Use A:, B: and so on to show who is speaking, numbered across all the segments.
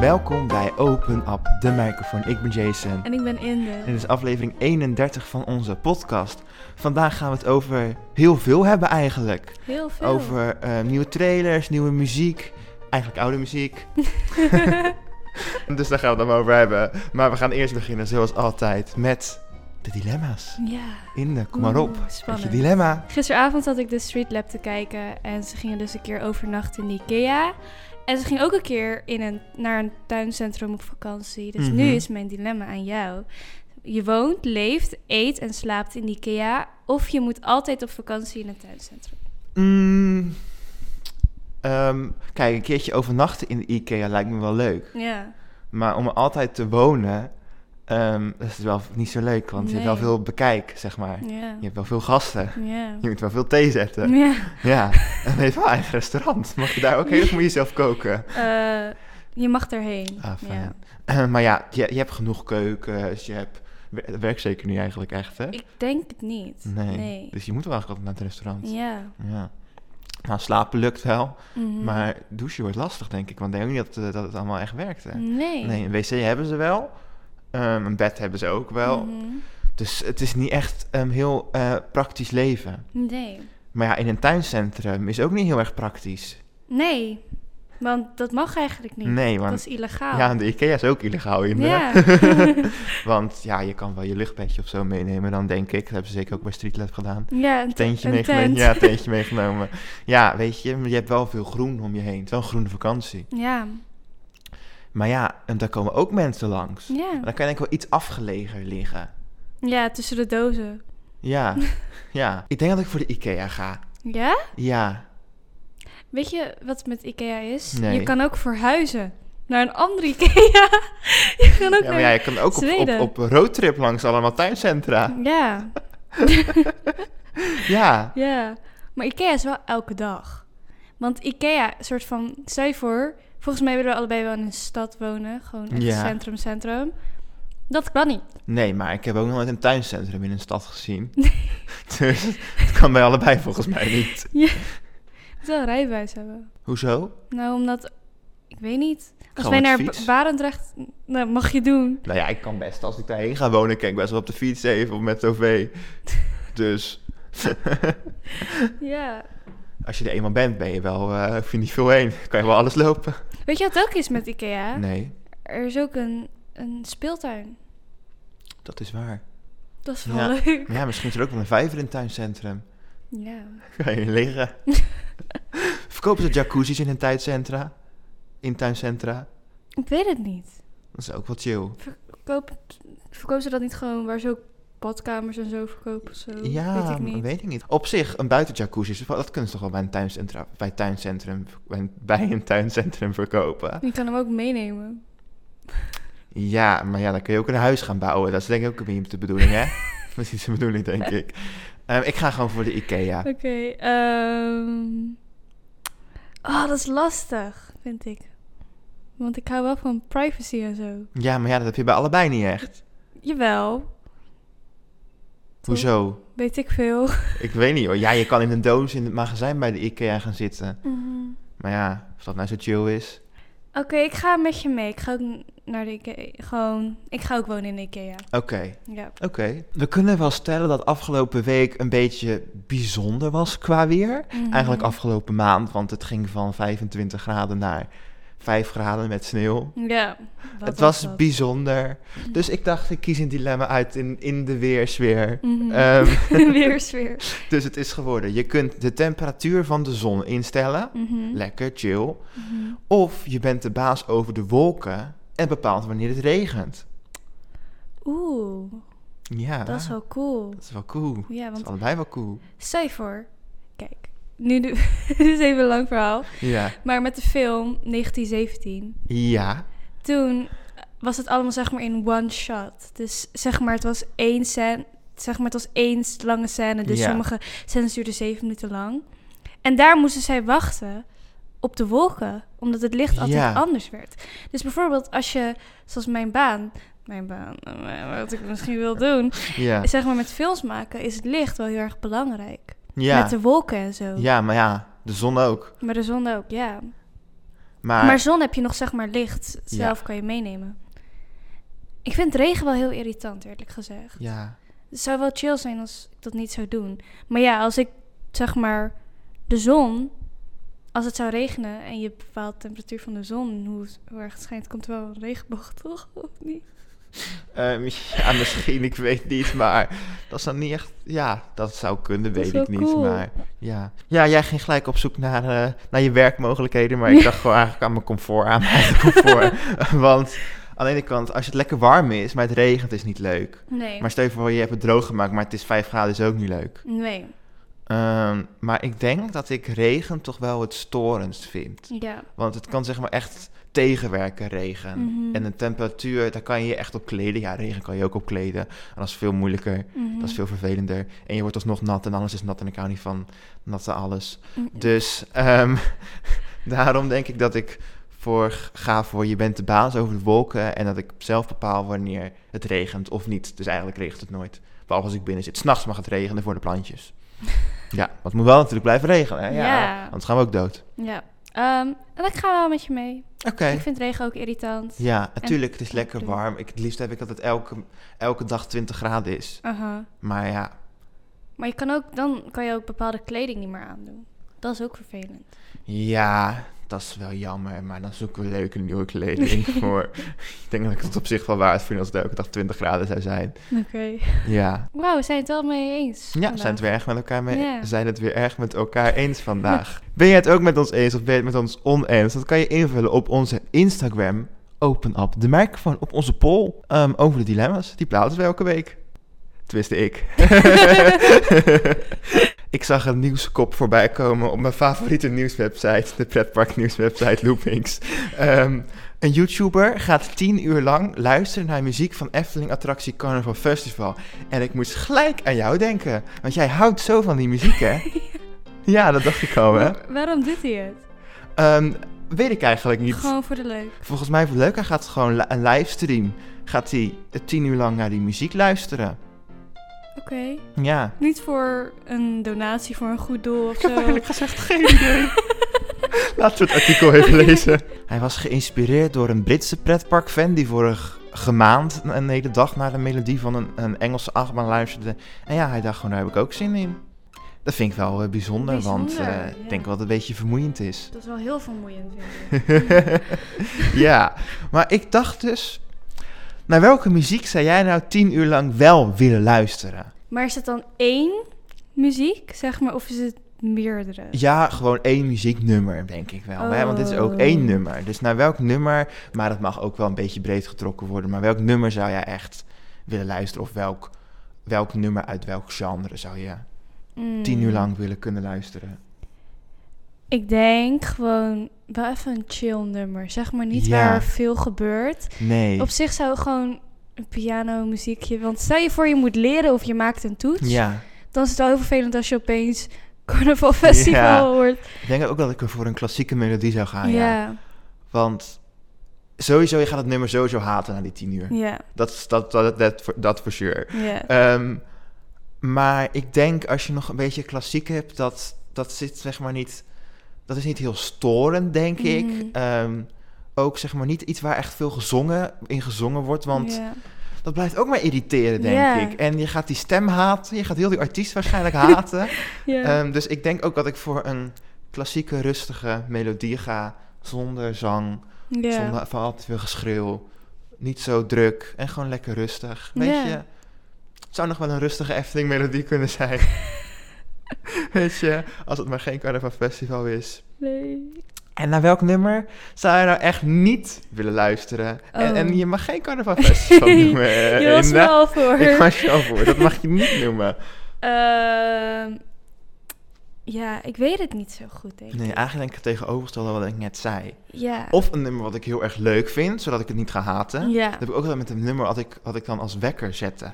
A: Welkom bij Open Up, de microfoon. Ik ben Jason.
B: En ik ben Inde.
A: Dit is aflevering 31 van onze podcast. Vandaag gaan we het over heel veel hebben eigenlijk.
B: Heel veel.
A: Over eh, nieuwe trailers, nieuwe muziek. Eigenlijk oude muziek. dus daar gaan we het dan over hebben. Maar we gaan eerst beginnen, zoals altijd, met de dilemma's.
B: Ja.
A: Inde, kom maar op.
B: Oeh,
A: Met je
B: spannend.
A: dilemma.
B: Gisteravond zat ik de Street Lab te kijken en ze gingen dus een keer overnachten in de Ikea. En ze ging ook een keer in een, naar een tuincentrum op vakantie. Dus
A: Mhm.
B: nu is mijn dilemma aan jou. Je woont, leeft, eet en slaapt in de Ikea. Of je moet altijd op vakantie in een tuincentrum.
A: Mm, ehm, kijk, een keertje overnachten in de IKEA lijkt me wel leuk.
B: Ja.
A: Maar om er altijd te wonen, ehm, dat is wel niet zo leuk. Want je hebt wel
B: Nee.
A: veel bekijk, zeg maar.
B: Ja.
A: Je hebt wel veel gasten.
B: Ja.
A: Je moet wel veel thee zetten.
B: Ja.
A: Ja, en je hebt wel een eigen restaurant. Mag je daar ook heen of moet je zelf koken?
B: Eh, je mag erheen.
A: Ah, fijn.
B: ja.
A: maar ja, je, je hebt genoeg keukens. Je hebt... Het werkt zeker nu eigenlijk echt, hè?
B: Ik denk het niet.
A: Nee. Dus je moet wel eigenlijk altijd naar het restaurant.
B: Ja.
A: Ja. Nou, slapen lukt wel.
B: Mhm.
A: Maar douchen wordt lastig, denk ik. Want ik denk ook niet dat, eh, dat het allemaal echt werkte.
B: Nee.
A: Nee, een wc hebben ze wel. Ehm, een bed hebben ze ook wel.
B: Mhm.
A: Dus het is niet echt een heel eh, praktisch leven.
B: Nee.
A: Maar ja, in een tuincentrum is ook niet heel erg praktisch.
B: Nee, want dat mag eigenlijk niet.
A: Nee,
B: Dat
A: want
B: is illegaal.
A: ja, de IKEA is ook illegaal in. hè?
B: Ja.
A: want ja, je kan wel je luchtbedje of zo meenemen dan, denk ik. Dat hebben ze zeker ook bij Street Lab gedaan.
B: Ja, een
A: Tentje
B: een
A: meegenomen.
B: tent.
A: Ja, tentje meegenomen. Ja, weet je, je hebt wel veel groen om je heen. Het is wel een groene vakantie.
B: Ja,
A: Maar ja, en daar komen ook mensen langs.
B: ja.
A: Dan kan je denk ik wel iets afgelegen liggen.
B: Ja, tussen de dozen.
A: Ja, ja. Ik denk dat ik voor de IKEA ga.
B: Ja?
A: Ja,
B: Weet je wat met Ikea is?
A: Nee.
B: Je kan ook verhuizen naar een andere Ikea. je kan ook
A: ja maar
B: naar...
A: ja, je kan ook op, op,
B: Zweden.
A: op roadtrip langs allemaal tuincentra.
B: ja,
A: Ja,
B: ja. Maar Ikea is wel elke dag. Want Ikea, soort van, stel je voor... Volgens mij willen we allebei wel in een stad wonen. Gewoon echt
A: Ja.
B: centrum, centrum. Dat kan niet.
A: nee, maar ik heb ook nog nooit een tuincentrum in een stad gezien. dus het kan bij allebei volgens mij niet.
B: Je moet wel een rijbewijs hebben.
A: Hoezo?
B: Nou, omdat... Ik weet niet. Als
A: Gewoon
B: wij
A: met
B: naar
A: fiets?
B: B- Barendrecht... Nou, mag je doen.
A: Nou ja, ik kan best als ik daarheen ga wonen, kan ik best wel op de fiets even of met de OV. Dus
B: Ja.
A: als je er eenmaal bent, ben je wel, eh hoef je niet veel heen. Kan je wel alles lopen.
B: Weet je wat het ook is met Ikea?
A: Nee,
B: Er is ook een, een speeltuin.
A: dat is waar.
B: Dat is wel
A: Ja.
B: leuk.
A: Maar ja, misschien is er ook wel een vijver in het tuincentrum.
B: Ja.
A: Kan je liggen. Verkopen ze jacuzzis in een tuincentra? In tuincentra?
B: Ik weet het niet.
A: Dat is ook wel chill.
B: Verkoop, verkopen ze dat niet gewoon waar ze ook badkamers en zo verkopen? Zo?
A: ja,
B: Weet ik niet.
A: Op zich, een buitenjacuzzi, is wel- dat kunnen ze toch wel bij een tuincentra, bij, tuincentrum, bij een- bij een tuincentrum verkopen.
B: Je kan hem ook meenemen.
A: Ja, maar ja, dan kun je ook een huis gaan bouwen. Dat is denk ik ook niet de bedoeling, hè? Dat is niet de bedoeling, denk ik. Ehm, ik ga gewoon voor de IKEA.
B: Oké. ehm. Oh, dat is lastig, vind ik. Want ik hou wel van privacy en zo.
A: Ja, maar ja, dat heb je bij allebei niet echt.
B: Jawel.
A: Hoezo?
B: Weet ik veel.
A: Ik weet niet hoor. Ja, je kan in een doos in het magazijn bij de IKEA gaan zitten. Maar ja, of dat nou zo chill is.
B: Mhm. Oké, ik ga met je mee. Ik ga ook naar de Ikea. Gewoon, ik ga ook wonen in de Ikea.
A: Oké,
B: Ja.
A: oké. We kunnen wel stellen dat afgelopen week een beetje bijzonder was qua weer.
B: Mhm.
A: Eigenlijk afgelopen maand, want het ging van 25 graden naar 5 graden met sneeuw.
B: Ja. wat
A: het was
B: dat? Mhm.
A: bijzonder. Dus ik dacht, ik kies een dilemma uit in, in de weersfeer.
B: Mhm.
A: Ehm,
B: Weer sfeer.
A: dus het is geworden. Je kunt de temperatuur van de zon instellen.
B: Mhm.
A: Lekker, chill.
B: Mhm.
A: Of je bent de baas over de wolken en bepaalt wanneer het regent.
B: Oeh,
A: Ja,
B: dat is wel cool.
A: dat is wel cool.
B: Ja,
A: Dat is
B: want
A: allebei wel cool.
B: stel je voor. Kijk, nu doe- dit is even een lang verhaal.
A: Ja.
B: Maar met de film 1917,
A: Ja.
B: toen was het allemaal zeg maar in one shot. Dus zeg maar, het was één scène, zeg maar, het was één lange scène. Dus
A: Ja.
B: sommige scènes duurden zeven minuten lang. En daar moesten zij wachten op de wolken, omdat het licht altijd
A: Ja.
B: anders werd. Dus bijvoorbeeld als je, zoals mijn baan, mijn baan, eh, wat ik misschien wil doen,
A: Ja.
B: zeg maar met films maken, is het licht wel heel erg belangrijk.
A: Ja.
B: Met de wolken en zo.
A: ja, maar ja, de zon ook.
B: Maar de zon ook, ja.
A: Maar,
B: Maar zon heb je nog zeg maar licht. Zelf
A: Ja.
B: kan je meenemen. Ik vind regen wel heel irritant, eerlijk gezegd.
A: ja,
B: Het zou wel chill zijn als ik dat niet zou doen. Maar ja, als ik zeg maar de zon, als het zou regenen en je bepaalt de temperatuur van de zon, en hoe, hoe erg het schijnt, komt er wel een regenboog toch? Of niet?
A: ehm, ja, misschien, ik weet niet, maar dat is dan niet echt... Ja, dat zou kunnen,
B: Dat is
A: weet ik
B: wel
A: niet,
B: cool.
A: maar ja. Ja, jij ging gelijk op zoek naar, eh, naar je werkmogelijkheden, maar ik dacht gewoon eigenlijk aan mijn comfort, aan mijn eigen comfort. Want aan de ene kant, als het lekker warm is, maar het regent, is niet leuk.
B: Nee.
A: Maar stel je voor, je hebt het droog gemaakt, maar het is 5 graden, is ook niet leuk.
B: Nee.
A: Ehm, maar ik denk dat ik regen toch wel het storendst vind.
B: Ja.
A: Want het kan zeg maar echt tegenwerken, regen.
B: Mhm.
A: En de temperatuur, daar kan je je echt op kleden. Ja, regen kan je ook op kleden. En dat is veel moeilijker,
B: Mhm.
A: dat is veel vervelender. En je wordt alsnog nat en alles is nat en ik hou niet van natte alles.
B: Mm.
A: Dus ehm, daarom denk ik dat ik voor ga voor je bent de baas over de wolken. En dat ik zelf bepaal wanneer het regent of niet. Dus eigenlijk regent het nooit. Behalve als ik binnen zit. S'nachts mag het regenen voor de plantjes. Ja, want het moet wel natuurlijk blijven regenen. Hè? Ja,
B: Ja.
A: Anders gaan we ook dood.
B: Ja. Ehm, en ik ga wel met je mee.
A: Oké.
B: Ik vind regen ook irritant.
A: Ja, natuurlijk, het is
B: en
A: lekker
B: bloemen.
A: warm. Ik, het liefst heb ik dat het elke, elke dag 20 graden is.
B: Aha.
A: Maar ja,
B: Maar je kan ook, dan kan je ook bepaalde kleding niet meer aandoen. Dat is ook vervelend.
A: ja, dat is wel jammer. Maar dan zoeken we leuke nieuwe kleding voor. Ik denk dat ik het op zich wel waard vind als het elke dag 20 graden zou zijn.
B: Oké.
A: Ja,
B: Wauw, we zijn het wel mee eens.
A: ja zijn het weer erg met elkaar mee?
B: Ja.
A: Zijn het weer erg met elkaar eens vandaag? Ben je het ook met ons eens of ben je het met ons oneens? Dat kan je invullen op onze Instagram. Open up de microfoon op onze poll ehm, over de dilemma's. Die plaatsen we elke week. Tenminste, ik. ik zag een nieuwskop voorbij komen op mijn favoriete nieuwswebsite, de pretpark nieuwswebsite Loopings. Ehm, een YouTuber gaat tien uur lang luisteren naar muziek van Efteling Attractie Carnival Festival. En ik moest gelijk aan jou denken, want jij houdt zo van die muziek, hè? ja, dat dacht ik al, hè?
B: Wa- Waarom doet hij het?
A: Ehm, weet ik eigenlijk niet.
B: Gewoon voor de leuk.
A: Volgens mij voor leuk, hij gaat gewoon li- een livestream. Gaat hij eh, tien uur lang naar die muziek luisteren.
B: Oké.
A: Ja.
B: Niet voor een donatie voor een goed doel of
A: Ik heb
B: zo.
A: eigenlijk gezegd geen idee. Laten we het artikel even lezen. Hij was geïnspireerd door een Britse pretparkfan die vorige maand een hele dag naar de melodie van een, een Engelse achtbaan luisterde. En ja, hij dacht gewoon, daar heb ik ook zin in. Dat vind ik wel eh, bijzonder, want
B: Bijzonder,
A: eh, ik
B: ja.
A: denk wel dat het een beetje vermoeiend is.
B: Dat is wel heel vermoeiend, vind ik.
A: ja, maar ik dacht dus, naar welke muziek zou jij nou tien uur lang wel willen luisteren?
B: Maar is het dan één muziek, zeg maar, of is het meerdere?
A: Ja, gewoon één muzieknummer, denk ik wel. Hè? Want dit is ook
B: Oh.
A: één nummer. Dus naar welk nummer, maar dat mag ook wel een beetje breed getrokken worden. Maar welk nummer zou jij echt willen luisteren? Of welk, welk nummer uit welk genre zou je
B: Mm.
A: tien uur lang willen kunnen luisteren?
B: Ik denk gewoon wel even een chill nummer. Zeg maar niet
A: Ja.
B: waar veel gebeurt.
A: Nee.
B: Op zich zou gewoon een piano muziekje. Want stel je voor je moet leren of je maakt een toets.
A: Ja.
B: Dan is het wel heel vervelend als je opeens Carnaval Festival
A: Ja.
B: hoort.
A: Ik denk ook dat ik er voor een klassieke melodie zou gaan. Ja.
B: ja.
A: Want sowieso, je gaat het nummer sowieso haten na die tien uur.
B: ja,
A: Dat is dat, dat, dat, voor- dat for sure.
B: ja.
A: Ehm, maar ik denk als je nog een beetje klassiek hebt, dat, dat zit zeg maar niet. Dat is niet heel storend, denk
B: Mhm.
A: ik. Ehm, ook zeg maar niet iets waar echt veel gezongen in gezongen wordt. Want
B: ja.
A: dat blijft ook maar irriteren, denk
B: Ja.
A: ik. En je gaat die stem haten. Je gaat heel die artiest waarschijnlijk haten.
B: Ja.
A: Ehm, dus ik denk ook dat ik voor een klassieke, rustige melodie ga. Zonder zang,
B: Ja.
A: zonder van al te veel geschreeuw. Niet zo druk en gewoon lekker rustig. Weet
B: Ja.
A: je, het zou nog wel een rustige Efteling melodie kunnen zijn. Weet je, als het maar geen carnaval festival is.
B: Nee.
A: En naar welk nummer zou je nou echt niet willen luisteren? En,
B: Oh.
A: en je mag geen carnaval festival noemen. eh,
B: Je was
A: Inda.
B: wel voor.
A: Ik was je al voor, dat mag je niet noemen.
B: Ehm, ja, ik weet het niet zo goed, denk ik.
A: Nee, eigenlijk denk ik het tegenovergestelde wat ik net zei.
B: ja.
A: Of een nummer wat ik heel erg leuk vind, zodat ik het niet ga haten.
B: ja.
A: Dat heb ik ook altijd met een nummer wat ik, wat ik dan als wekker zette.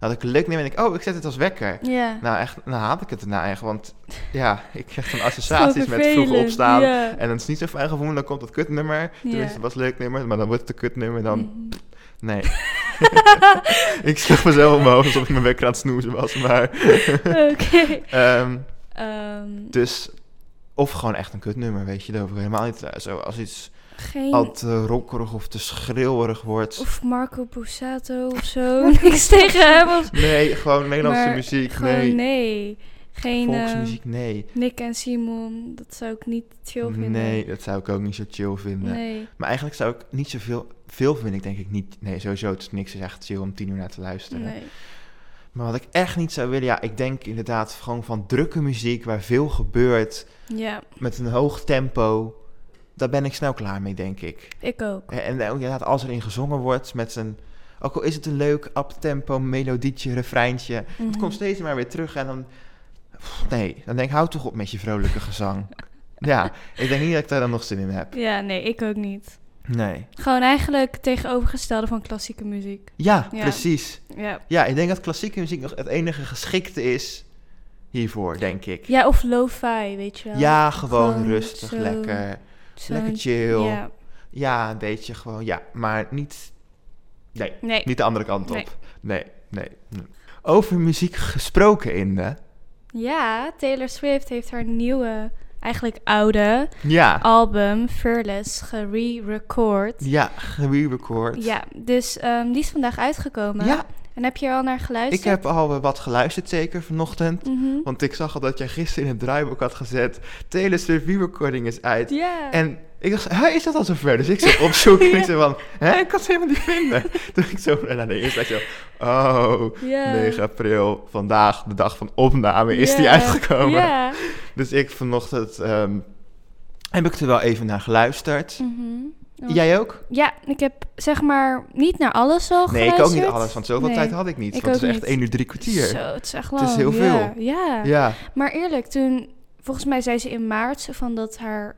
A: Dat ik een leuk nummer en ik, oh, ik zet het als wekker.
B: Ja.
A: Nou, echt, nou haat ik het daarna echt, want ja, ik krijg dan
B: Zo
A: associaties met vroeg
B: vervelend,
A: opstaan.
B: Ja.
A: En dan is het niet zo fijn gevoel, dan komt dat kutnummer. Tenminste, het was een leuk nummer, maar dan wordt het een kutnummer. Dan,
B: Mhm.
A: nee. ik sloeg mezelf omhoog alsof ik mijn wekker aan het snoezen was, maar...
B: Oké.
A: ehm,
B: Ehm,
A: dus Of gewoon echt een kutnummer, weet je. Dat helemaal niet eh, zo als iets
B: Geen...
A: al te rokkerig of te schreeuwerig wordt.
B: Of Marco Borsato of zo. Niks tegen hem. Of...
A: Nee, gewoon Nederlandse
B: Maar
A: muziek,
B: Gewoon
A: nee.
B: nee. Geen eh,
A: Volksmuziek, nee.
B: Nick en Simon. Dat zou ik niet chill vinden.
A: Nee, dat zou ik ook niet zo chill vinden.
B: Nee.
A: Maar eigenlijk zou ik niet zoveel... Veel vind ik denk ik niet... Nee, sowieso, het is niks is echt chill om tien uur naar te luisteren.
B: nee.
A: Maar wat ik echt niet zou willen... Ja, ik denk inderdaad gewoon van drukke muziek... waar veel gebeurt,
B: Ja,
A: met een hoog tempo... Daar ben ik snel klaar mee, denk ik.
B: ik ook.
A: En en ook inderdaad, als er in gezongen wordt met een... Ook al is het een leuk uptempo, melodietje, refreintje...
B: Mhm.
A: Het komt steeds maar weer terug en dan... Pff, Nee, dan denk ik, hou toch op met je vrolijke gezang. ja, ik denk niet dat ik daar dan nog zin in heb.
B: Ja, nee, ik ook niet.
A: Nee.
B: Gewoon eigenlijk het tegenovergestelde van klassieke muziek.
A: Ja,
B: Ja.
A: precies.
B: Ja.
A: Ja, ik denk dat klassieke muziek nog het enige geschikte is hiervoor, denk ik. Ja,
B: Ja, of lo-fi, weet je wel.
A: gewoon,
B: gewoon
A: rustig,
B: zo-
A: lekker.
B: Zo'n-
A: lekker chill. Ja.
B: Ja.
A: een beetje gewoon, ja. Maar niet... Nee,
B: Nee.
A: niet de andere kant
B: Nee.
A: op. Nee, nee. nee. Over muziek gesproken, Inde.
B: ja, Taylor Swift heeft haar nieuwe, eigenlijk oude,
A: Ja.
B: album Fearless gere-record.
A: Ja, gewieuwrecord.
B: Ja, dus ehm, die is vandaag uitgekomen.
A: Ja,
B: En heb je er al naar geluisterd?
A: Ik heb al eh, wat geluisterd zeker vanochtend.
B: Mhm.
A: Want ik zag al dat jij gisteren in het draaiboek had gezet... Taylor Swift recording is uit.
B: Ja.
A: En ik dacht, hè, is dat al zover? Dus ik zat opzoeken en ik zei van... Hè, ik kan ze helemaal niet vinden. Toen ik zo naar de eerste dacht ik zo... Oh,
B: ja.
A: 9 april, vandaag, de dag van opname, is die
B: Ja.
A: uitgekomen.
B: Ja.
A: Dus ik vanochtend ehm, heb ik er wel even naar geluisterd.
B: Mhm. Ja.
A: Jij ook?
B: Ja, ik heb zeg maar niet naar alles al
A: Nee, ik ook niet
B: geluisterd.
A: alles, want zoveel
B: Nee.
A: tijd had ik niet.
B: Ik
A: want het
B: ook
A: is echt
B: niet.
A: 1 uur 3 kwartier.
B: Zo, het is echt lang.
A: Het is heel
B: ja,
A: veel.
B: Ja.
A: Ja,
B: Maar eerlijk, toen... Volgens mij zei ze in maart zo van dat haar...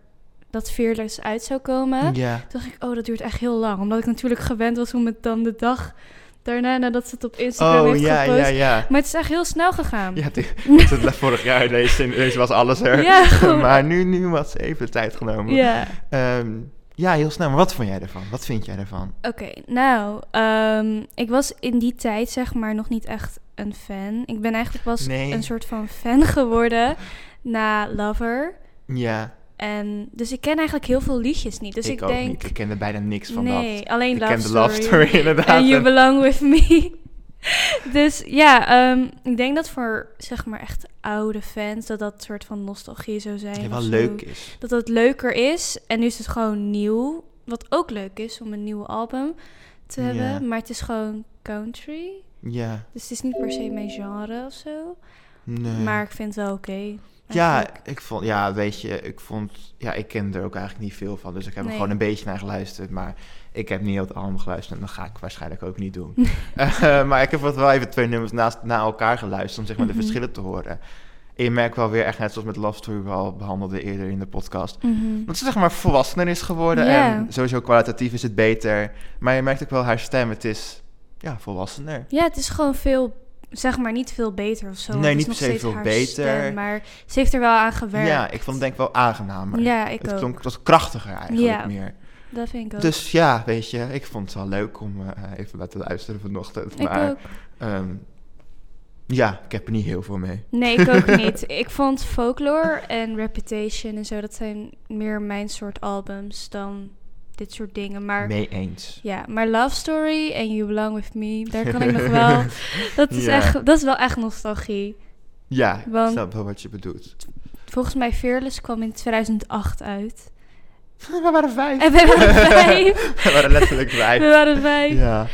B: Dat Fearless uit zou komen.
A: ja.
B: Toen dacht ik, oh, dat duurt echt heel lang. Omdat ik natuurlijk gewend was om het dan de dag daarna... nadat ze het op Instagram
A: Oh,
B: heeft
A: ja,
B: gepost.
A: ja, ja.
B: Maar het is echt heel snel gegaan.
A: Ja, dit, dit- vorig jaar deze, deze was alles er.
B: Ja, goed.
A: maar nu, nu had ze even de tijd genomen. Ja.
B: Ja.
A: Ehm, ja, heel snel. Maar wat vond jij ervan? Wat vind jij ervan?
B: Oké, nou, ehm, ik was in die tijd zeg maar nog niet echt een fan. Ik ben eigenlijk pas
A: Nee.
B: een soort van fan geworden na Lover.
A: Ja,
B: En, dus ik ken eigenlijk heel veel liedjes niet. Dus ik,
A: ik, ook
B: denk,
A: niet. Ik kende bijna niks van
B: nee,
A: dat.
B: alleen
A: Ik
B: Love
A: ken de
B: Story.
A: Love Story inderdaad.
B: And You
A: En-
B: Belong With Me. dus ja, ehm, ik denk dat voor zeg maar echt oude fans dat dat soort van nostalgie zou zijn.
A: die
B: of
A: wel
B: zo.
A: leuk is.
B: dat het leuker is. En nu is het gewoon nieuw. Wat ook leuk is om een nieuw album te
A: Ja.
B: hebben. Maar het is gewoon country.
A: Ja,
B: Dus het is niet per se mijn genre of zo.
A: nee.
B: Maar ik vind het wel oké.
A: ja,
B: eigenlijk.
A: ik vond, ja, weet je, ik vond, ja, ik kende er ook eigenlijk niet veel van. Dus ik heb er
B: Nee.
A: gewoon een beetje naar geluisterd. Maar ik heb niet heel het album geluisterd. En dat ga ik waarschijnlijk ook niet doen. Eh, maar ik heb wat wel even twee nummers naast, na elkaar geluisterd. Om zeg maar de
B: Mhm.
A: verschillen te horen. En je merkt wel weer echt net zoals met Love Story we al behandelden eerder in de podcast.
B: Mhm.
A: Dat ze zeg maar volwassener is geworden.
B: Ja.
A: En sowieso kwalitatief is het beter. Maar je merkt ook wel haar stem. Het is, ja, volwassener.
B: Ja, het is gewoon veel, zeg maar niet veel beter of zo.
A: Nee,
B: Het is
A: niet per
B: nog
A: se
B: steeds
A: veel
B: haar
A: beter.
B: stem, maar ze heeft er wel aan gewerkt.
A: Ja, ik vond het denk ik wel aangenamer.
B: Ja, ik
A: het
B: ook.
A: klonk wat krachtiger eigenlijk
B: Ja.
A: meer.
B: Dat vind ik ook.
A: Dus ja, weet je, ik vond het wel leuk om eh, even laten luisteren vanochtend.
B: ik
A: maar
B: ook.
A: ehm, ja, ik heb er niet heel veel mee.
B: Nee, ik ook niet. Ik vond Folklore en Reputation en zo, dat zijn meer mijn soort albums dan dit soort dingen. Maar
A: mee eens.
B: ja, maar Love Story en You Belong With Me, daar kan ik nog wel... Dat is,
A: Ja.
B: echt, dat is wel echt nostalgie.
A: Ja, ik
B: Want-
A: snap wel wat je bedoelt.
B: Volgens mij Fearless kwam in 2008 uit.
A: We waren vijf.
B: En we waren vijf.
A: We waren letterlijk
B: We
A: vijf.
B: waren vijf.
A: Ja.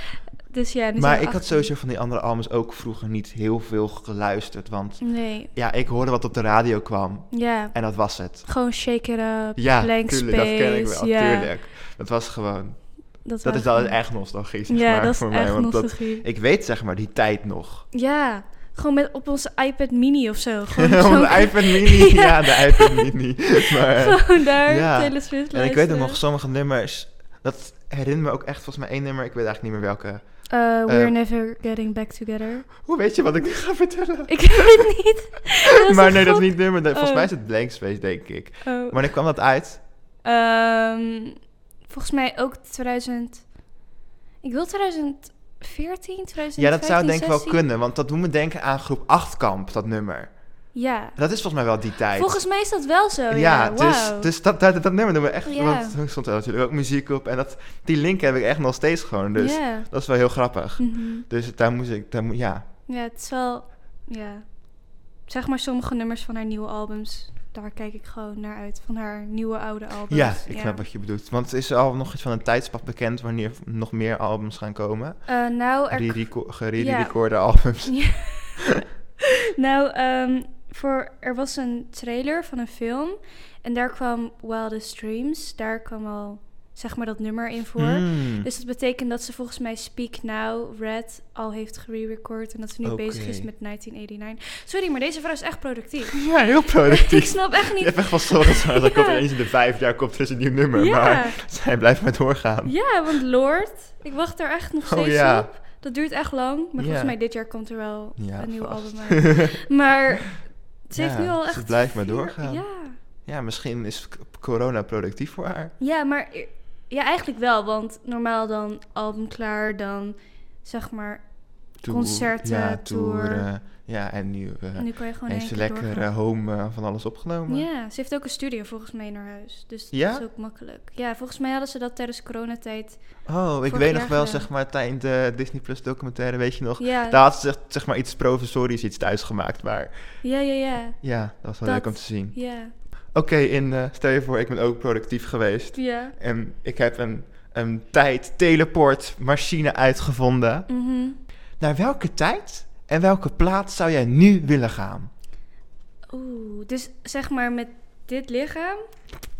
B: Dus ja, nu zijn
A: Maar
B: we
A: ik had
B: 18.
A: sowieso van die andere albums ook vroeger niet heel veel geluisterd. Want
B: Nee,
A: ja, ik hoorde wat op de radio kwam
B: ja.
A: en dat was het.
B: Gewoon Shake It Up,
A: Ja,
B: Blank
A: tuurlijk,
B: Space.
A: dat ken ik wel,
B: ja,
A: tuurlijk. Dat was gewoon,
B: Dat,
A: dat
B: waren
A: is dan
B: gewoon-
A: echt nostalgie, zeg
B: Ja,
A: maar,
B: dat is
A: voor
B: echt
A: mij. want dat,
B: nostalgie.
A: ik weet zeg maar die tijd nog.
B: Ja, gewoon met, op onze iPad mini of zo. Gewoon,
A: Om de
B: zo'n-
A: iPad mini. ja.
B: Ja.
A: de iPad mini. Maar,
B: gewoon daar,
A: Ja.
B: Taylor Swift
A: en ik weet ook
B: luisteren.
A: nog sommige nummers. Dat herinner me ook echt volgens mij één nummer. Ik weet eigenlijk niet meer welke.
B: Eh, we're
A: eh,
B: never getting back together.
A: Hoe weet je wat ik nu ga vertellen?
B: Ik weet het niet. Dat was
A: maar
B: een
A: nee, dat is
B: god-
A: niet het nummer. Dat- Volgens
B: Oh.
A: mij is het Blank Space, denk ik.
B: Oh.
A: Wanneer kwam dat uit?
B: Ehm, volgens mij ook 2000... Ik wil 2014, 2015,
A: Ja, dat zou denk ik wel
B: 16.
A: kunnen. Want dat doet me denken aan groep 8 kamp, dat nummer.
B: Ja.
A: Dat is volgens mij wel die tijd.
B: Volgens mij is dat wel zo. Ja,
A: dus,
B: wauw.
A: dus dat, dat, dat, nummer doen we echt.
B: Ja.
A: Want toen stond er natuurlijk ook muziek op. En dat, die link heb ik echt nog steeds gewoon. Dus
B: Ja.
A: dat is wel heel grappig.
B: Mhm.
A: Dus daar moest ik, daar, moet- ja.
B: Ja, het is wel. Ja. Zeg maar sommige nummers van haar nieuwe albums. Daar kijk ik gewoon naar uit. Van haar nieuwe oude albums.
A: Ja, ik snap wat je bedoelt. Want is er al nog iets van een tijdspad bekend wanneer nog meer albums gaan komen?
B: Eh, nou, er,
A: Re-reco- Gerede-recorde albums.
B: Ja. nou ehm, voor, er was een trailer van een film. En daar kwam Wildest Dreams. Daar kwam al zeg maar dat nummer in voor.
A: Mm.
B: Dus dat betekent dat ze volgens mij Speak Now, Red, al heeft gererecord. En dat ze nu
A: Oké.
B: bezig is met 1989. Sorry, maar deze vrouw is echt productief.
A: Ja, heel
B: ik
A: productief.
B: snap echt
A: Je
B: niet
A: hebt echt wel zorgen dat er
B: Ja.
A: komt ineens in de vijf jaar komt er eens een nieuw nummer.
B: Ja.
A: Maar zij blijft maar doorgaan.
B: Ja, want Lord, ik wacht er echt nog
A: Oh,
B: steeds
A: ja.
B: op. Dat duurt echt lang, maar volgens
A: Ja.
B: mij dit jaar komt er wel
A: Ja,
B: een nieuw
A: vast.
B: album uit. Maar ze heeft
A: Ja,
B: nu al
A: ze
B: echt...
A: blijft maar
B: vier-
A: doorgaan.
B: Ja.
A: Ja, misschien is c- corona productief voor haar.
B: ja, maar i- ja, eigenlijk wel, want normaal dan album klaar, dan zeg maar...
A: Tour-
B: Concerten,
A: ja,
B: tour.
A: toeren. Ja, en nu eh,
B: nu kan je gewoon
A: heeft
B: één
A: ze
B: keer
A: lekker
B: doorgaan.
A: eh, home eh, van alles opgenomen.
B: Ja, ze heeft ook een studio volgens mij naar huis. Dus
A: Ja?
B: dat is ook makkelijk. Ja, volgens mij hadden ze dat tijdens coronatijd.
A: Oh, ik
B: Vorig
A: weet nog
B: jaar
A: wel,
B: gedaan.
A: zeg maar, tijdens de Disney Plus documentaire, weet je nog?
B: Ja,
A: Daar had ze zeg, zeg maar iets provisorisch iets thuis gemaakt. Maar
B: ja, ja, ja.
A: ja, dat was wel
B: Dat-
A: leuk om te zien.
B: Ja,
A: Oké, in, eh, stel je voor, ik ben ook productief geweest.
B: ja.
A: En ik heb een, een tijd teleportmachine uitgevonden.
B: Mhm.
A: Naar welke tijd en welke plaats zou jij nu willen gaan?
B: Oeh, dus zeg maar met dit lichaam.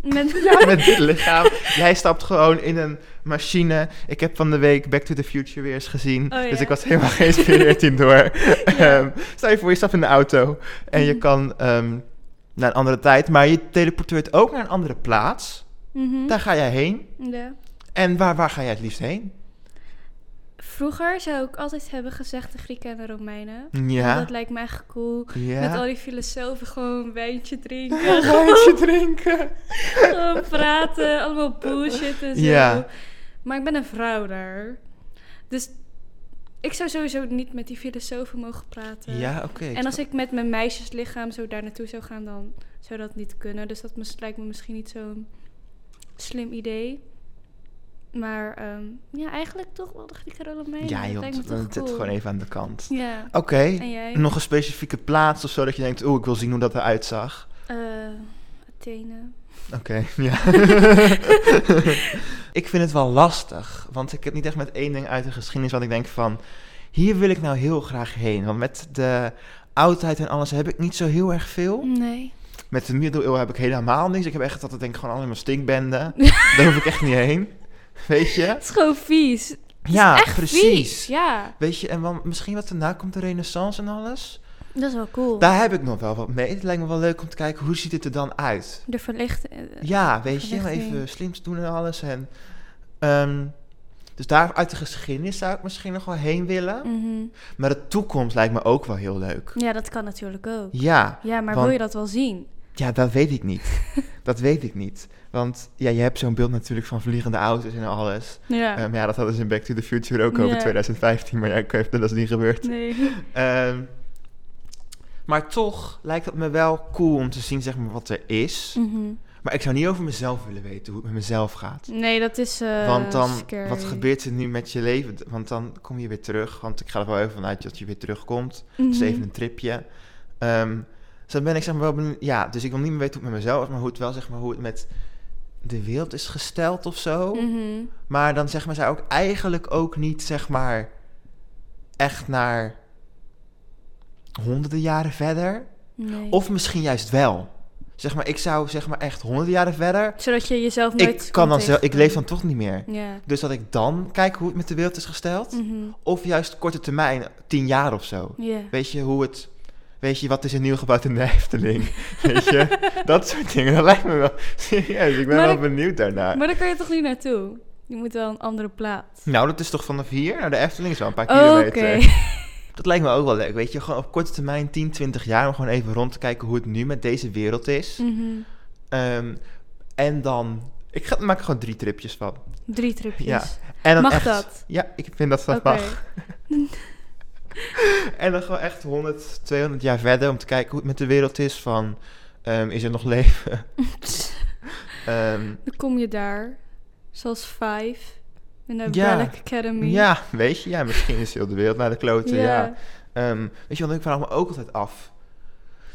B: Met,
A: Met dit lichaam. Jij stapt gewoon in een machine. Ik heb van de week Back to the Future weer eens gezien.
B: Oh,
A: Dus
B: ja.
A: ik was helemaal geïnspireerd hierdoor. Ehm stel je voor, je stapt in de auto en je
B: Mhm.
A: kan ehm, naar een andere tijd. Maar je teleporteert ook naar een andere plaats.
B: Mhm.
A: Daar ga jij heen.
B: Ja.
A: En waar, waar ga jij het liefst heen?
B: Vroeger zou ik altijd hebben gezegd de Grieken en de Romeinen.
A: Ja.
B: Dat lijkt me echt cool. Met al
A: Ja.
B: die filosofen gewoon een wijntje drinken,
A: Een wijntje drinken.
B: gewoon praten, allemaal bullshit en zo.
A: Ja.
B: Maar ik ben een vrouw daar. Dus ik zou sowieso niet met die filosofen mogen praten.
A: Ja, oké. ik
B: En als ik met mijn meisjeslichaam zo daar naartoe zou gaan, dan zou dat niet kunnen. Dus dat mis- lijkt me misschien niet zo'n slim idee. Maar ehm, ja, eigenlijk toch wel de Grieken en Romeinen.
A: Ja,
B: Dat
A: joh,
B: lijkt me
A: dan
B: toch
A: zet het
B: cool.
A: gewoon even aan de kant.
B: Ja.
A: Oké,
B: En jij?
A: nog een specifieke plaats of zo dat je denkt, oeh, ik wil zien hoe dat eruit zag.
B: Eh, Athene.
A: Oké, ja. ik vind het wel lastig, want ik heb niet echt met één ding uit de geschiedenis wat ik denk van, hier wil ik nou heel graag heen. Want met de oudheid en alles heb ik niet zo heel erg veel.
B: Nee.
A: Met de middeleeuwen heb ik helemaal niks. Ik heb echt altijd denk ik gewoon allemaal stinkbenden. Daar hoef ik echt niet heen. Weet je?
B: Het is gewoon vies. Het is
A: Ja,
B: echt
A: precies.
B: vies, Ja,
A: Weet je, en dan misschien wat daarna komt de renaissance en alles.
B: dat is wel cool.
A: Daar heb ik nog wel wat mee. Het lijkt me wel leuk om te kijken hoe ziet het er dan uit.
B: De verlichte... eh,
A: Ja, weet je,
B: verlichting.
A: even slims doen en alles. En, ehm, dus daar uit de geschiedenis zou ik misschien nog wel heen willen.
B: mhm.
A: Maar de toekomst lijkt me ook wel heel leuk.
B: Ja, dat kan natuurlijk ook.
A: Ja,
B: Ja, maar
A: Want-
B: wil je dat wel zien?
A: ja dat weet ik niet. dat weet ik niet. Want ja, je hebt zo'n beeld natuurlijk van vliegende auto's en alles.
B: Ja.
A: Ehm, ja, dat hadden ze in Back to the Future ook over
B: Ja.
A: 2015. Maar ja, ik weet dat is niet gebeurd.
B: nee.
A: Ehm, maar toch lijkt het me wel cool om te zien zeg maar, wat er is.
B: Mhm.
A: Maar ik zou niet over mezelf willen weten hoe het met mezelf gaat.
B: Nee, dat is. eh,
A: Want dan,
B: scary.
A: wat gebeurt er nu met je leven? Want dan kom je weer terug. Want ik ga er wel even vanuit dat je weer terugkomt.
B: Mhm.
A: Het is even een tripje. Ehm, dus dan ben ik zeg maar wel benieuwd. Ja, dus ik wil niet meer weten hoe het met mezelf is. Maar hoe het wel zeg maar hoe het met de wereld is gesteld of zo.
B: Mhm.
A: Maar dan zeg maar, zou ik eigenlijk ook niet zeg maar echt naar honderden jaren verder.
B: Nee.
A: Of misschien juist wel. Zeg maar, ik zou zeg maar echt honderden jaren verder.
B: Zodat je jezelf nooit.
A: Ik, kan dan
B: zelf.
A: zelf, ik leef dan toch niet meer.
B: Ja.
A: Dus dat ik dan kijk hoe het met de wereld is gesteld.
B: Mhm.
A: Of juist korte termijn, tien jaar of zo.
B: Ja.
A: Weet je hoe het. Weet je, wat is er nieuw gebouwd in de Efteling? Weet je, dat soort dingen. Dat lijkt me wel. Serieus, ik ben
B: Maar
A: wel
B: ik-
A: benieuwd daarnaar.
B: Maar daar kan je toch niet naartoe? Je moet wel een andere plaats.
A: Nou, dat is toch vanaf hier naar de Efteling is wel een paar
B: Oké.
A: kilometer. Dat lijkt me ook wel leuk, weet je. Gewoon op korte termijn, 10, 20 jaar, om gewoon even rond te kijken hoe het nu met deze wereld is.
B: Mhm.
A: Ehm, en dan... Ik ga, maak er gewoon drie tripjes van.
B: Drie tripjes.
A: Ja. En dan
B: Mag
A: echt-
B: dat?
A: Ja, ik vind dat dat
B: Oké.
A: mag. En dan gewoon echt 100, 200 jaar verder om te kijken hoe het met de wereld is. Van, ehm, is er nog leven? Ehm,
B: Dan kom je daar, zoals Five, in de
A: Ja.
B: Relic Academy.
A: ja, weet je. Ja, misschien is heel de wereld naar de kloten. ja.
B: Mm. ja.
A: Ehm, weet je wat, ik vraag me ook altijd af.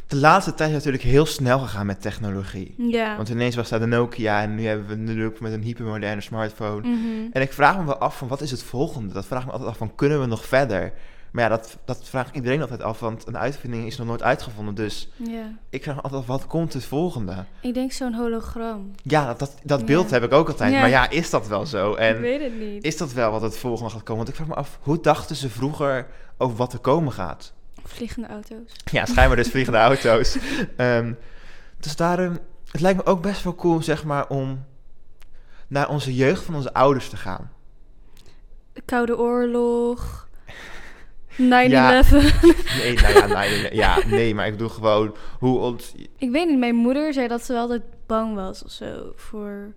A: De laatste tijd is het natuurlijk heel snel gegaan met technologie.
B: Ja.
A: Want ineens was daar de Nokia en nu hebben we natuurlijk met een hypermoderne smartphone.
B: Mhm.
A: En ik vraag me wel af van wat is het volgende? Dat vraag ik me altijd af van kunnen we nog verder? Maar ja, dat, dat vraagt iedereen altijd af, want een uitvinding is nog nooit uitgevonden. Dus
B: ja.
A: ik vraag me altijd af, wat komt het volgende?
B: Ik denk zo'n hologram.
A: Ja, dat, dat, dat
B: Ja.
A: beeld heb ik ook altijd.
B: Ja.
A: Maar ja, is dat wel zo?
B: ik
A: En
B: weet het niet.
A: is dat wel wat het volgende gaat komen? Want ik vraag me af, hoe dachten ze vroeger over wat er komen gaat?
B: Vliegende auto's.
A: Ja, schijnbaar dus vliegende auto's. Ehm, dus daarom, het lijkt me ook best wel cool, zeg maar, om naar onze jeugd van onze ouders te gaan.
B: De Koude Oorlog. 9-11.
A: Nee, nou ja, nee, nee, ja, nee, maar ik bedoel gewoon hoe ons...
B: Ik weet niet, mijn moeder zei dat ze wel altijd bang was of zo voor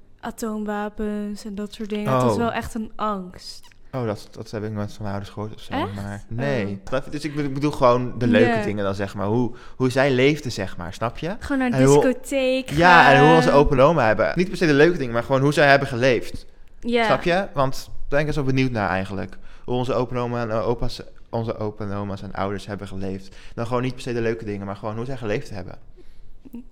B: atoomwapens en dat soort dingen. Het was
A: Oh.
B: wel echt een angst.
A: Oh, dat, dat heb ik nooit van mijn ouders gehoord of zo,
B: Echt? Oh.
A: maar nee. Dat- Dus ik bedoel, ik bedoel gewoon de
B: Ja.
A: leuke dingen dan, zeg maar. Hoe, hoe zij leefden, zeg maar, snap je?
B: Gewoon naar een
A: En hoe-
B: discotheek
A: Ja, en hoe
B: gaan.
A: onze open oma hebben. Niet per se de leuke dingen, maar gewoon hoe zij hebben geleefd.
B: Ja.
A: Snap je? Want daar ben ik best wel benieuwd naar eigenlijk. Hoe onze opa en oma en opa's, onze opa en oma's en ouders hebben geleefd. Dan gewoon niet per se de leuke dingen, maar gewoon hoe zij geleefd hebben.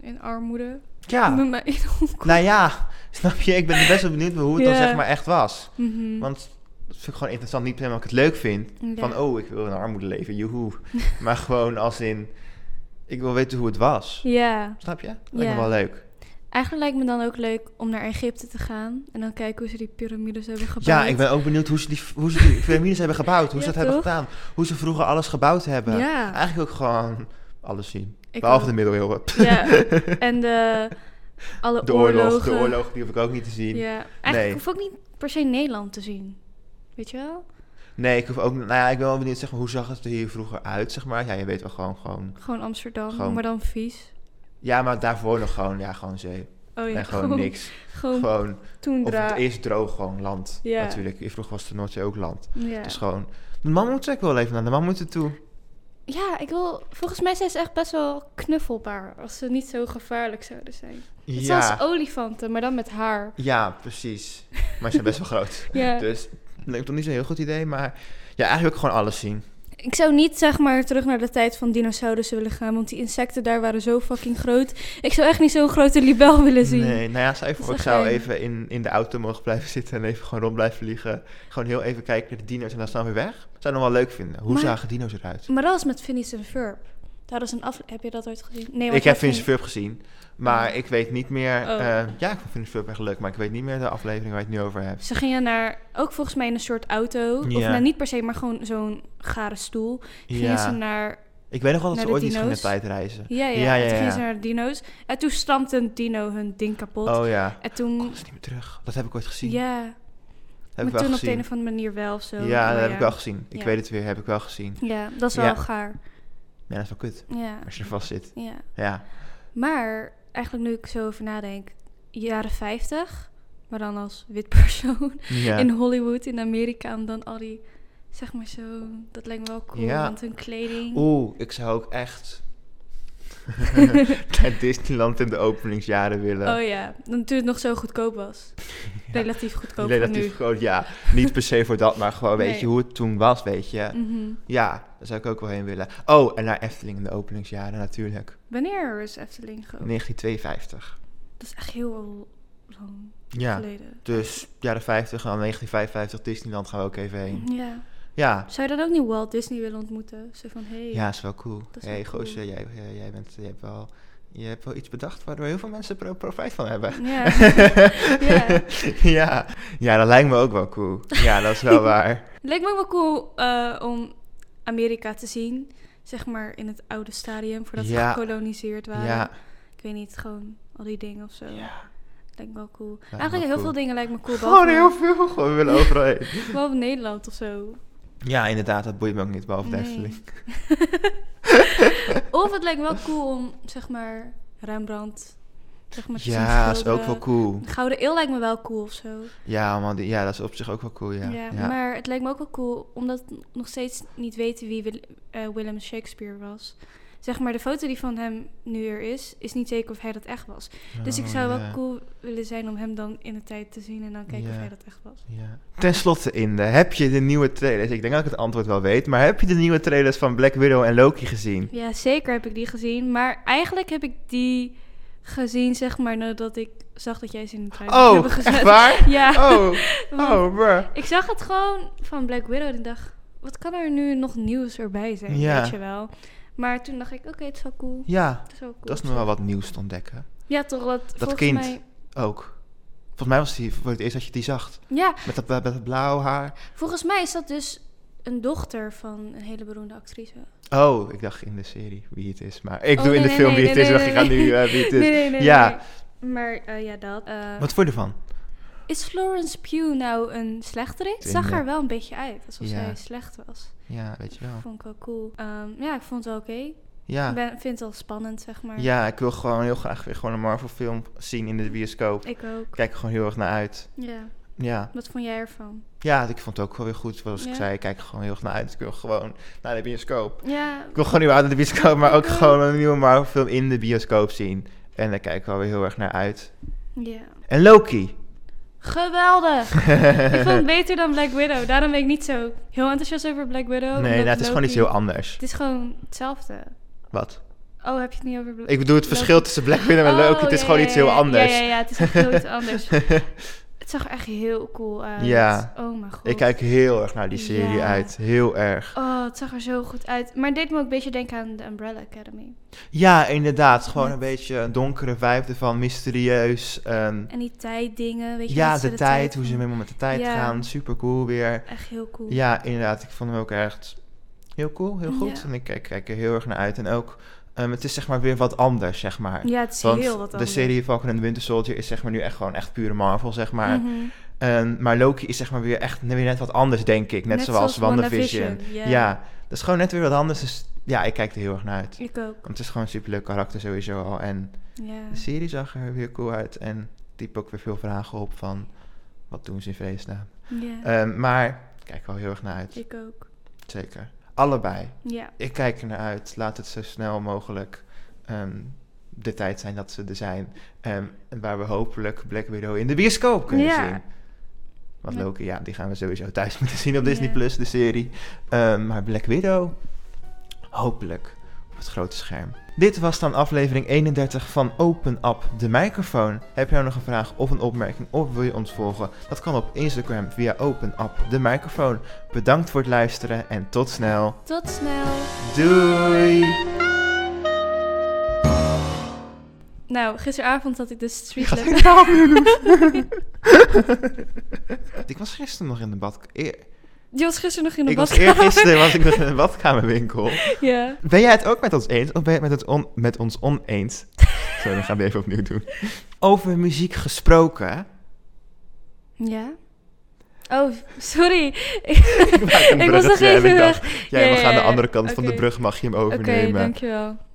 B: In armoede.
A: Ja,
B: Bij mij in Hongkong.
A: nou ja, snap je? Ik ben best wel benieuwd hoe het dan
B: Ja.
A: zeg maar echt was.
B: Mhm.
A: Want dat vind ik gewoon interessant, niet per se omdat ik het leuk vind.
B: Ja.
A: Van, oh, ik wil in armoede leven, joehoe. maar gewoon als in, ik wil weten hoe het was.
B: Ja.
A: Snap je? Dat lijkt
B: Ja.
A: me wel leuk.
B: Eigenlijk lijkt me dan ook leuk om naar Egypte te gaan en dan kijken hoe ze die piramides hebben gebouwd.
A: Ja, ik ben ook benieuwd hoe ze die, hoe ze die piramides hebben gebouwd. Hoe ze
B: Ja,
A: dat hebben
B: toch?
A: gedaan. Hoe ze vroeger alles gebouwd hebben.
B: Ja.
A: Eigenlijk ook gewoon alles zien.
B: Ik
A: Behalve
B: ook.
A: de middeleeuwen.
B: Ja. En de, alle
A: De oorlog,
B: oorlogen.
A: de oorlog, die hoef ik ook niet te zien.
B: Ja. Eigenlijk
A: Nee.
B: hoef ik ook niet per se Nederland te zien. Weet je wel?
A: Nee, ik hoef ook, nou ja, ik ben wel benieuwd, zeg maar, hoe zag het er hier vroeger uit, zeg maar? Ja, je weet wel gewoon, gewoon.
B: Gewoon Amsterdam,
A: Gewoon-
B: maar dan vies.
A: Ja, maar daarvoor nog gewoon, ja, gewoon zee.
B: Oh ja.
A: En gewoon niks.
B: Gewoon,
A: Gewoon,
B: toen
A: of het
B: dra.
A: is droog, gewoon land.
B: Ja.
A: Natuurlijk, vroeger was de Noordzee ook land.
B: Ja.
A: Dus gewoon, de man moet zeker wel even naar, de man moet er toe.
B: ja, ik wil. Volgens mij zijn ze echt best wel knuffelbaar als ze niet zo gevaarlijk zouden zijn. Het is
A: Ja,
B: Zoals olifanten, maar dan met haar.
A: ja, precies. Maar ze zijn best wel groot.
B: Ja.
A: Dus, lijkt toch niet zo'n heel goed idee, maar ja, eigenlijk gewoon alles zien.
B: Ik zou niet zeg maar terug naar de tijd van dinosaurussen willen gaan, want die insecten daar waren zo fucking groot. Ik zou echt niet zo'n grote libel willen zien.
A: Nee, nou ja, stel je
B: Dat is
A: voor, ik
B: echt
A: zou
B: eng.
A: even in, in de auto mogen blijven zitten en even gewoon rond blijven vliegen. Gewoon heel even kijken naar de dino's en dan snel weer weg. Zou ik nog wel leuk vinden. Hoe
B: Maar-
A: zagen dino's eruit?
B: Maar dat was met Phineas en Ferb. Daar is een af. Heb je dat ooit gezien? Nee, want
A: ik heb
B: dat ging-
A: Vince Furp gezien, maar
B: Oh.
A: ik weet niet meer...
B: Oh.
A: eh, ja, ik vind Vince Furp echt leuk, maar ik weet niet meer de aflevering waar je het nu over hebt.
B: Ze gingen naar, ook volgens mij in een soort auto. Of
A: Ja.
B: nou, niet per se, maar gewoon zo'n gare stoel. Gingen ze
A: Ja,
B: naar,
A: ik weet nog wel dat ze
B: naar de
A: ooit iets gingen
B: dino's.
A: tijdreizen.
B: ja, ja,
A: Ja, ja,
B: en toen gingen
A: ja.
B: ze naar de dino's. En toen stampte een dino hun ding kapot.
A: Oh ja,
B: En
A: dat
B: toen,
A: is niet meer terug. Dat heb ik ooit gezien.
B: ja,
A: heb
B: maar
A: ik wel
B: toen op de
A: gezien.
B: een of andere manier wel of zo.
A: ja,
B: maar
A: dat heb ik wel gezien. Ik
B: Ja.
A: weet het weer, heb ik wel gezien.
B: Ja, dat is wel
A: Ja.
B: gaar.
A: Ja, dat is wel kut,
B: Ja,
A: als je er vast zit.
B: ja.
A: Ja,
B: Maar eigenlijk nu ik zo over nadenk, jaren 50, maar dan als wit persoon
A: ja.
B: in Hollywood, in Amerika, en dan al die, zeg maar zo, dat lijkt me wel cool,
A: Ja.
B: want hun kleding.
A: Oeh, ik zou ook echt naar Disneyland in de openingsjaren willen.
B: Oh ja, dan toen het nog zo goedkoop was. Relatief goedkoop voor
A: Relatief
B: nu.
A: groot, ja. Niet per se voor dat, maar gewoon weet
B: Nee.
A: je hoe het toen was, weet je.
B: Mhm.
A: Ja, daar zou ik ook wel heen willen. Oh, en naar Efteling in de openingsjaren natuurlijk.
B: Wanneer is Efteling geopend?
A: 1952.
B: Dat is echt heel lang
A: Ja,
B: geleden.
A: dus jaren 50 en dan 1955 Disneyland gaan we ook even heen.
B: Ja.
A: Ja,
B: Zou je dan ook niet Walt Disney willen ontmoeten? Zo van, hey.
A: ja, is wel cool.
B: Dat is
A: hey,
B: wel cool.
A: gozer, jij, jij, jij bent, jij hebt wel, je hebt wel iets bedacht waardoor heel veel mensen pro- profijt van hebben.
B: Ja.
A: ja.
B: Ja.
A: ja. dat lijkt me ook wel cool. Ja, dat is wel waar.
B: Lijkt me ook wel cool eh, om Amerika te zien. Zeg maar in het oude stadium, voordat
A: Ja.
B: ze gekoloniseerd waren.
A: Ja.
B: Ik weet niet, gewoon al die dingen of zo.
A: Ja.
B: Lijkt me wel cool.
A: me
B: Eigenlijk
A: wel
B: heel
A: cool.
B: veel dingen lijkt me cool.
A: Gewoon heel
B: behalve-
A: veel. Gewoon, we willen overal heen.
B: Behalve Nederland of zo.
A: Ja, inderdaad, dat boeit me ook niet, behalve de
B: Nee.
A: Efteling.
B: Of het lijkt me wel cool om, zeg maar, Rembrandt Zeg maar,
A: Ja,
B: zo'n
A: is ook wel
B: gouden-
A: cool.
B: Een Gouden eeuw lijkt me wel cool of zo.
A: Ja, man, die- ja, dat is op zich ook wel cool, ja.
B: Ja,
A: Ja,
B: maar het lijkt me ook wel cool, omdat we nog steeds niet weten wie Wil- eh, Willem Shakespeare was. Zeg maar, de foto die van hem nu er is, is niet zeker of hij dat echt was. Dus ik
A: Oh,
B: zou
A: ja.
B: wel cool willen zijn om hem dan in de tijd te zien en dan kijken
A: Ja.
B: of hij dat echt was.
A: Ja. Ten slotte, Inde, heb je de nieuwe trailers? Ik denk dat ik het antwoord wel weet, maar heb je de nieuwe trailers van Black Widow en Loki gezien?
B: Ja, zeker heb ik die gezien. Maar eigenlijk heb ik die gezien, zeg maar, nadat ik zag dat jij ze in de trui hebt
A: Oh,
B: gezet.
A: echt waar?
B: Ja.
A: Oh,
B: want
A: oh, bruh.
B: Ik zag het gewoon van Black Widow en ik dacht, wat kan er nu nog nieuws erbij zijn,
A: Ja.
B: weet je wel. Maar toen dacht ik, oké, het is wel cool.
A: Ja,
B: Het is wel cool.
A: dat is nog wel wat nieuws te ontdekken.
B: Ja, toch, dat, volgens
A: kind.
B: mij...
A: Ook. Volgens mij was die voor het eerst dat je die zag.
B: Ja,
A: Met dat, met dat blauw haar.
B: volgens mij is dat dus een dochter van een hele beroemde actrice.
A: Oh, ik dacht in de serie wie het is. Maar ik
B: Oh,
A: doe in
B: nee,
A: de
B: nee,
A: film
B: nee,
A: wie het
B: nee,
A: is.
B: nee,
A: dacht ik
B: nee,
A: ga nu
B: nee.
A: eh, wie het is.
B: Nee, nee, nee.
A: ja,
B: nee. Maar eh, ja, dat. eh,
A: wat vond je ervan?
B: Is Florence Pugh nou een slechterik? Het zag
A: Minder.
B: er wel een beetje uit, alsof
A: Ja.
B: zij slecht was.
A: Ja, weet je wel.
B: Vond ik wel cool. Ehm, ja, ik vond het wel oké. Ik
A: Ja,
B: ben- vind het wel spannend, zeg maar.
A: ja ik wil gewoon heel graag weer gewoon een Marvel film zien in de bioscoop.
B: Ik ook.
A: Ik kijk er gewoon heel erg naar uit.
B: Ja.
A: Ja.
B: Wat vond jij ervan?
A: ja, ik vond het ook wel weer goed. Zoals ik
B: Ja.
A: zei, ik kijk er gewoon heel erg naar uit. Ik wil gewoon naar de bioscoop.
B: Ja,
A: Ik wil gewoon nieuw uit naar de bioscoop, maar ook
B: Ik ook.
A: gewoon een nieuwe Marvel film in de bioscoop zien. En daar kijk ik wel weer heel erg naar uit.
B: ja.
A: En Loki.
B: Geweldig! ik vond het beter dan Black Widow. Daarom ben ik niet zo heel enthousiast over Black Widow.
A: Nee,
B: omdat
A: nou, het is gewoon iets
B: Loki-
A: heel anders.
B: Het is gewoon hetzelfde.
A: Wat?
B: Oh, heb je het niet over Black
A: Ik bedoel het verschil
B: Loki.
A: tussen Black Widow en Loki.
B: Oh,
A: Het is
B: ja,
A: gewoon
B: ja,
A: iets heel
B: ja,
A: anders.
B: Ja, ja, ja, het is echt heel iets anders. Het zag er echt heel cool uit.
A: Ja.
B: Oh mijn god.
A: ik kijk heel erg naar die serie
B: Ja.
A: uit. Heel erg.
B: Oh, het zag er zo goed uit. Maar het deed me ook een beetje denken aan de Umbrella Academy.
A: Ja, inderdaad. Gewoon
B: Ja.
A: een beetje een donkere vijfde van mysterieus. ehm,
B: En die tijddingen, weet je
A: ja,
B: dat ze
A: de, tijd.
B: doen.
A: Hoe ze helemaal met de tijd
B: Ja.
A: gaan. Super cool weer.
B: Echt heel cool.
A: Ja, inderdaad. Ik vond hem ook echt heel cool, heel goed.
B: Ja.
A: En ik kijk, kijk er heel erg naar uit. En ook, ehm, het is zeg maar weer wat anders, zeg maar.
B: Ja, het is
A: Want
B: heel wat anders.
A: de serie Falcon and the Winter Soldier is zeg maar nu echt gewoon echt pure Marvel, zeg maar.
B: Mhm.
A: Ehm, maar Loki is zeg maar weer echt weer net wat anders, denk ik. Net, zoals, WandaVision.
B: WandaVision,
A: Ja. dat is gewoon net weer wat anders. Dus ja, ik kijk er heel erg naar uit.
B: Ik ook.
A: Want het is gewoon een superleuk karakter sowieso al. En
B: Ja.
A: de serie zag er weer cool uit. En typ ook weer veel vragen op van... Wat doen ze in vredesnaam?
B: ja.
A: Ehm, maar ik kijk er wel heel erg naar uit.
B: ik ook.
A: Zeker. Allebei.
B: Ja.
A: Ik kijk er naar uit. Laat het zo snel mogelijk ehm, de tijd zijn dat ze er zijn. Ehm, en waar we hopelijk Black Widow in de bioscoop kunnen
B: Ja.
A: zien. Want
B: Ja.
A: Loki, ja, die gaan we sowieso thuis moeten zien op
B: Ja.
A: Disney Plus, de serie. Ehm, maar Black Widow, hopelijk op het grote scherm. Dit was dan aflevering 31 van Open Up de microfoon. Heb je nou nog een vraag of een opmerking of wil je ons volgen? Dat kan op Instagram via Open Up de microfoon. Bedankt voor het luisteren en tot snel.
B: Tot snel.
A: Doei!
B: Nou, gisteravond had ik dus Street
A: Gaat
B: Level.
A: hij nou? ik was gisteren nog in de badkamer.
B: Je was gisteren nog in de
A: Ik was
B: badkamer.
A: eergisteren was ik nog in de badkamerwinkel.
B: Ja.
A: Ben jij het ook met ons eens of ben je het met, het on- met ons oneens? Zo, dan gaan we even opnieuw doen. Over muziek gesproken.
B: Ja. Oh, sorry.
A: Ik, maak een
B: Ik was nog
A: bruggetje en
B: even
A: ik dacht,
B: weg.
A: jij
B: Ja,
A: mag
B: ja,
A: aan de
B: ja.
A: andere kant van de
B: Oké.
A: brug mag je hem
B: Oké,
A: overnemen.
B: dankjewel.